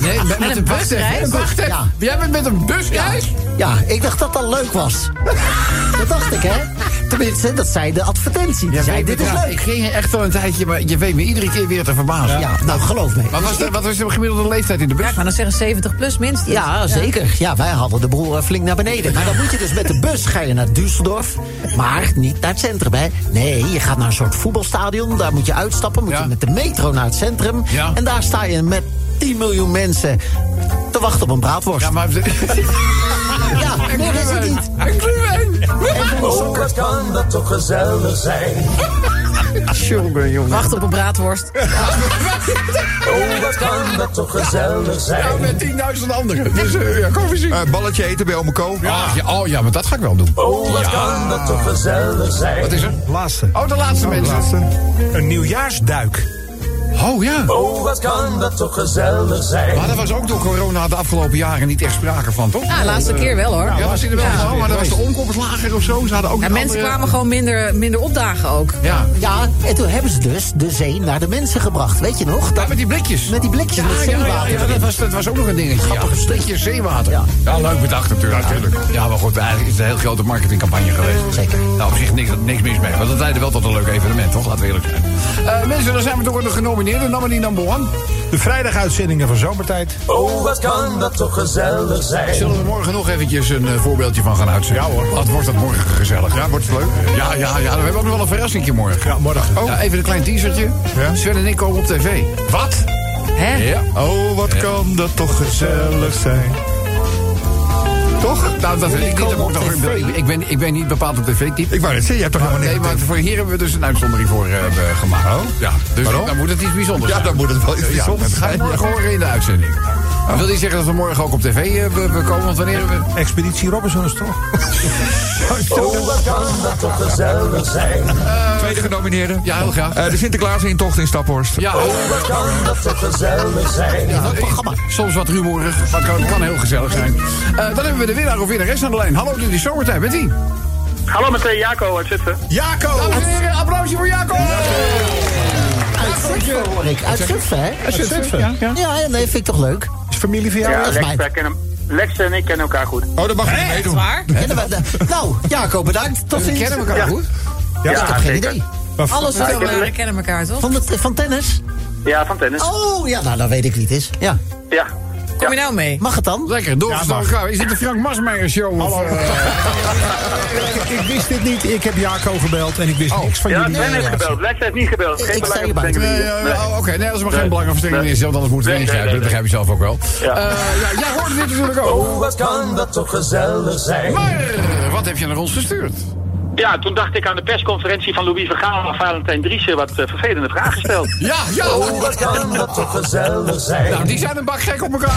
Nee, met, Met met een een bus. busreis? hè? Een Wacht even. Ja. Jij bent met een busreis? Ja, ik dacht dat dat leuk was. dat dacht ik, hè? Tenminste, dat zei de advertentie. Die Ja, zei, weet dit me- is ja, leuk. Ik ging echt al een tijdje, maar je weet me iedere keer weer te verbazen. Ja, nou, geloof me. Wat was, de, wat was de gemiddelde leeftijd in de bus? Ja, ik wou dan zeggen 70 plus minstens. Ja, zeker. Ja, wij hadden de boel eh, flink naar beneden. Maar dan moet je dus met de bus ga je naar Düsseldorf. Maar niet naar het centrum, hè. Nee, je gaat naar een soort voetbalstadion. Daar moet je uitstappen. Moet Ja. je met de metro naar het centrum. Ja. En daar sta je met 10 miljoen mensen te wachten op een braadworst. Ja, maar... Ja, nee, dat is het niet. Een kluwen! Oh, wat kan dat toch gezellig zijn. Jongen, jongen. Wacht op een braadworst. Oh, wat kan dat toch gezellig Ja, zijn. Oh, met 10.000 anderen. Dus eh, ja, kom eens zien. Eh, balletje eten bij Ome Ko. Ah, ja, oh ja, maar dat ga ik wel doen. Oh, wat kan dat toch gezellig zijn. Wat is er? Laatste. Oh, de laatste mensen. Een nieuwjaarsduik. Oh ja. Oh, wat kan dat toch gezellig Maar zijn. daar was ook door corona de afgelopen jaren niet echt sprake van, toch? Ja, laatste keer wel hoor. Ja, was er wel Nou, Ja. eens van, maar dat was de omkomst lager of zo. Ze hadden ook Ja, een mensen andere- kwamen gewoon minder, minder opdagen ook. Ja. Ja, en toen hebben ze dus de zee naar de mensen gebracht. Weet je nog? Ja, met die blikjes. Met die blikjes met ja, ja, zeewater. ja, dat, was, dat was ook nog een dingetje. Ja. Een stukje zeewater. Ja. Ja. leuk bedacht natuurlijk. Ja, natuurlijk. ja, maar goed, eigenlijk is het een heel grote marketingcampagne geweest. Zeker. Nou, op zich niks, niks mis mee. Want dat leidde wel tot een leuk evenement, toch? Laten we eerlijk zijn. Eh, mensen, dan zijn we door de genomineerden. Nominee number one. De vrijdaguitzendingen van Zomertijd. Oh, wat kan dat toch gezellig zijn. Zullen we morgen nog eventjes een eh, voorbeeldje van gaan uitzenden? Ja hoor. Wat wordt dat morgen gezellig? Ja, wordt het leuk? Ja, ja, ja. We hebben ook nog wel een verrassingje morgen. Ja, morgen. Oh. Ja, even een klein teasertje. Ja. Sven en ik komen op tv. Wat? Hè? Ja. Oh, wat kan dat toch gezellig zijn. Toch? Nou, dat ik, niet, dat moet ik, nog in beeld. ik, ben, ik ben niet bepaald op tv-type. Ik wou net zeggen, jij hebt toch helemaal Nee, niks. maar voor hier hebben we dus een uitzondering voor eh, be- gemaakt. Oh? Ja, dus Waarom? dan moet het iets bijzonders Ja, zijn. dan moet het wel iets bijzonders dat ga je zijn. morgen horen in de uitzending. Maar Wil je zeggen dat we morgen ook op tv eh, be- be- komen? Want wanneer we... Expeditie Robinson is toch? Oh, wat kan dat toch gezellig zijn. Tweede genomineerde. Ja, heel graag. Eh, de Sinterklaas in tocht in Staphorst. Ja, Oh, wat kan dat toch gezellig zijn. programma. Soms wat rumoerig, maar het kan, kan heel gezellig zijn. Eh, dan hebben we de winnaar of winnares aan de lijn. Hallo, dit is zomertijd. Met die? Hallo met eh, Jaco uit Zutphen. Jaco! Dames en heren, applausje voor Jacob! Uit Zutphen hoor ik. Uit Zutphen, hè? Zutphen. Ja, ja, nee, vind ik toch leuk. Is familie van jou? Ja, dat is Lex, mijn- wij kennen, Lex en ik kennen elkaar goed. Oh, dat mag je niet meedoen. En dan- dan- nou, Jaco, bedankt. Tot We ziens. kennen elkaar goed. Ja, Ik heb geen idee. Maar v- Alles Ja, ik vertellen, heb- we kennen elkaar toch? Van, het, van tennis? Ja, van tennis. Oh, ja, nou, dan weet ik wie het is. Ja. Ja. Kom je nou mee? Mag het dan? Lekker, doorgestaan elkaar. Is dit de Frank Masmeijer show? eh, Hallo. ik, ik wist dit niet. Ik heb Jaco gebeld en ik Oh. wist niks van Ja, jullie. Sven heeft relatie. gebeld. Lex heeft niet gebeld. Ik- ik Geen sta belang hierbij. Nee, Oh, Oké, nee, dat is maar geen Nee. belangrijke Nee. in zelf, anders moeten we Nee, nee, ingrijpen. Dat nee, begrijp je zelf ook wel. Ja. Eh, ja, jij hoorde dit natuurlijk ook. Oh, wat kan dat toch gezellig zijn. Maar eh, wat heb je naar ons gestuurd? Ja, toen dacht ik aan de persconferentie van Louis Vergaal en Valentijn Driessen wat eh, vervelende vragen gesteld. Ja, ja! Oh, wat kan dat toch gezellig zijn. Nou, die zijn een bak gek op elkaar.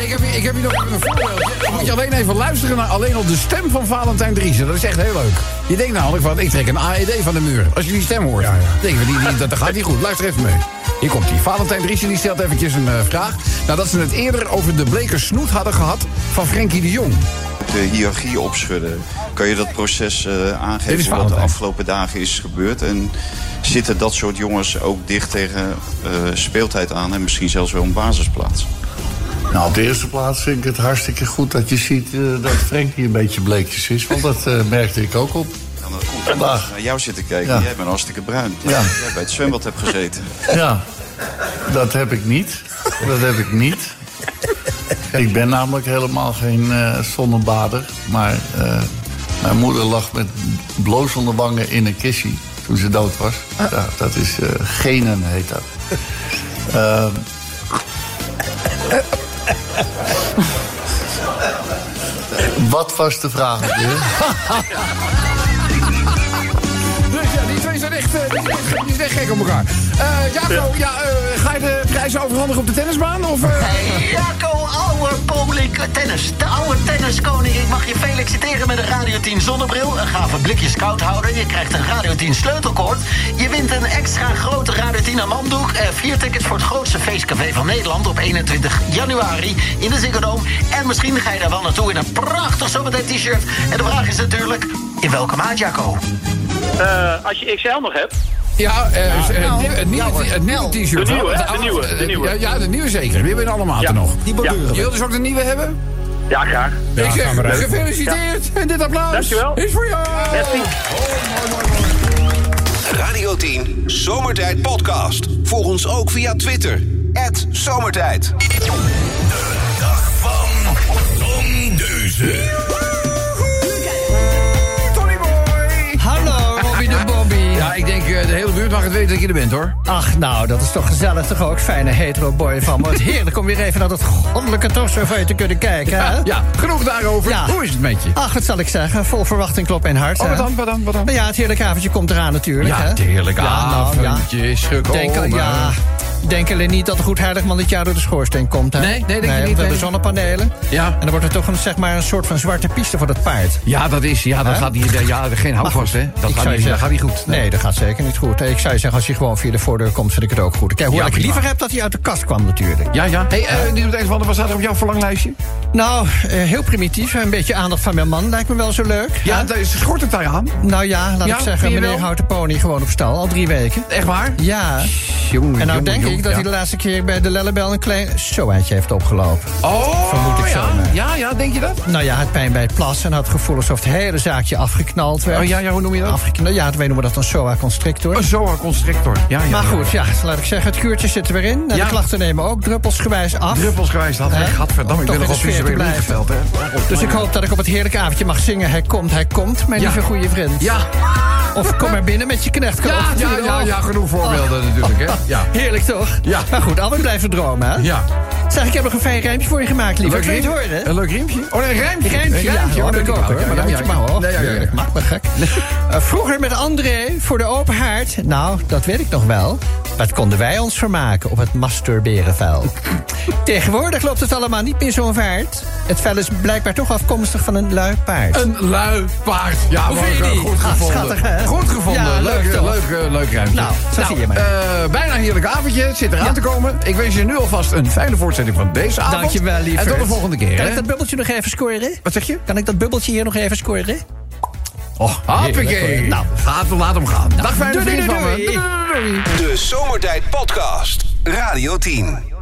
Ik heb, hier- ik heb hier nog een voorbeeld. Dan moet je alleen even luisteren naar alleen al de stem van Valentijn Driessen. Dat is echt heel leuk. Je denkt namelijk van, ik trek een AED van de muur. Als je die stem hoort. Denk je, die, die, dat dat gaat niet goed. Luister even mee. Hier komt hij. Valentijn Driessen die stelt eventjes een eh, vraag. Nadat ze het eerder over de bleke snoet hadden gehad van Frenkie de Jong. de hiërarchie opschudden. Kan je dat proces eh, Dit is aangeven wat de Valentijn. afgelopen dagen is gebeurd? En zitten dat soort jongens ook dicht tegen eh, speeltijd aan en misschien zelfs wel een basisplaats? Nou, op de eerste plaats vind ik het hartstikke goed dat je ziet eh, dat Frenkie een beetje bleekjes is. Want dat eh, merkte ik ook op. Ja, dat komt omdat Vandaag. ik naar jou zitten kijken. Ja. Jij bent hartstikke bruin. Ja. Jij bij het zwembad hebt gezeten. Ja, dat heb ik niet. Dat heb ik niet. Ik ben namelijk helemaal geen eh, zonnebader. Maar eh, mijn moeder lag met blozende wangen in een kissie toen ze dood was. Ah. Ja, dat is eh, genen, heet dat. Ehm, Wat was de vraag? alweer? Dus ja, die twee zijn echt, eh, die zijn echt- die zijn echt gek op elkaar. Eh Jaco, ja, eh, ga je de prijzen overhandigen op de tennisbaan? Of, eh? Jaco, oude publiek tennis. De oude tenniskoning. Ik mag je feliciteren met een Radio 10 zonnebril. Een gave blikjes koudhouder. Je krijgt een Radio 10 sleutelkoord. Je wint een extra grote Radio 10 amanddoek. Eh, vier tickets voor het grootste feestcafé van Nederland op 21 januari in de Ziggo Dome. En misschien ga je daar wel naartoe in een prachtig zometeen t-shirt. En de vraag is natuurlijk, in welke maat, Jaco? Eh, als je XL nog hebt. Ja, eh, Ja, eh, nou, het nieuwe- nou, het nieuwe nou. t-shirt. De nieuwe, hoor. hè? Het De nieuwe, oude- de nieuwe. Ja, ja, de nieuwe zeker. Die hebben we in alle maten nog. Die borduren we. Je wilt dus ook de nieuwe hebben? Ja, graag. Ik zeg, gefeliciteerd. En dit applaus Dankjewel. is voor jou. Radio 10 Zomertijd Podcast. Volg ons ook via Twitter. Zomertijd. Hallo, Bobby de Bobby. Ja, ik denk eh, de hele buurt mag het weten dat je er bent, hoor. Ach, nou, dat is toch gezellig, toch ook? Fijne hetero boy van me. Het heerlijk om weer even naar dat goddelijke torso te kunnen kijken, hè? Ja, ja, genoeg daarover. Hoe is het met je? Ach, wat zal ik zeggen? Vol verwachting, klop en hart. Oh, wat hè? dan, wat dan, wat dan? Nou ja, het heerlijke avondje komt eraan natuurlijk, Ja, hè? het heerlijke nou, ja. avondje is gekomen. Denk, ja, denk alleen niet dat de goed heiligman dit jaar door de schoorsteen komt, hè? Nee, nee, denk ik niet, We hebben nee. zonnepanelen. Ja. En dan wordt er toch een, zeg maar, een soort van zwarte piste voor dat paard. Ja, dat is. Ja, dat Hè? gaat niet. Ja, geen houvast, hè? Dat Ik gaat, zou niet, dat zeggen- gaat niet goed. Nee. dat gaat zeker niet goed. Ik zou zeggen, als je gewoon via de voordeur komt, vind ik het ook goed. Kijk, hoewel Ja, ik prima. liever heb dat hij uit de kast kwam natuurlijk. Ja, ja. Hé, hey, eh, niet op het een of andere, wat staat er op jouw verlanglijstje? Nou, eh, heel primitief. Een beetje aandacht van mijn man lijkt me wel zo leuk. Ja, daar is- schort het daar aan. Nou ja, laat Ja, ik zeggen, vind je meneer wel? houdt de pony gewoon op stal. Al drie weken. Echt waar? Ja. Jongen, en nou jongen, denk jongen, ik dat ja. hij de laatste keer bij de Lellebel een klein soaatje heeft opgelopen. Oh, Vermoed ik ja. zomaar. ja, ja, denk je dat? Nou ja, het pijn bij het plassen had het gevoel alsof het hele zaakje afgeknald werd. Oh, ja, ja, hoe noem je dat? Afgeknald, ja, wij noemen dat een soa-constrictor. Een zoa constrictor. Ja, ja, maar ja. goed, ja, dus laat ik zeggen, het kuurtje zit er weer in. En Ja. de klachten nemen ook druppelsgewijs af. Druppels gewijs had. Hè? Hey, gadverdamme, ik Om ben toch nog op in de vies sfeer weer te blijven. ingesteld, hè? Dus ik hoop dat ik op het heerlijke avondje mag zingen. Hij komt, hij komt, mijn Ja. lieve goede vriend. Ja, Of kom maar binnen met je knecht. ja, ja, ja, ja, genoeg voorbeelden natuurlijk, hè? Ja. Heerlijk toch? Ja. Maar goed, altijd blijven dromen, hè? Ja. Zeg, ik heb nog een fijn rijmpje voor je gemaakt, lieve. Wil je het riempje? horen? Een leuk riempje? Oh, nee, een rijmpje. Rijmpje, Een ja, Oh, hoor, dat ik kan ook, wel, hoor. ja, Maar dan moet je ja, maar ja. hoor. Nee, ja, ja, ja. Tuurlijk, maak me gek. Eh, Vroeger met André voor de open haard. Nou, dat weet ik nog wel. Wat konden wij ons vermaken op het masturberenvel? Tegenwoordig loopt het allemaal niet meer zo'n vaart. Het vel is blijkbaar toch afkomstig van een lui paard. Een lui paard. Ja, Hoe vind je maar, eh, die? goed Ah, gevonden. schattig, hè? Goed gevonden. Ja, leuk, leuk, leuk, toch? leuk, eh, leuk ruimte. Nou, zo zie je maar. eh, bijna een heerlijk avondje. Het zit eraan te komen. Ik wens je nu alvast een fijne voortzetting van deze avond. Dankjewel, lieve. En tot de volgende keer. Kan hè? ik dat bubbeltje nog even scoren? Wat zeg je? Kan ik dat bubbeltje hier nog even scoren? Oh, heerlijk, hoppakee. hoor. Nou. Gaat, laat hem gaan. Dag, fijne doei, vriend doei, van me. doei. doei. doei, doei. De Zomertijd Podcast. Radio 10.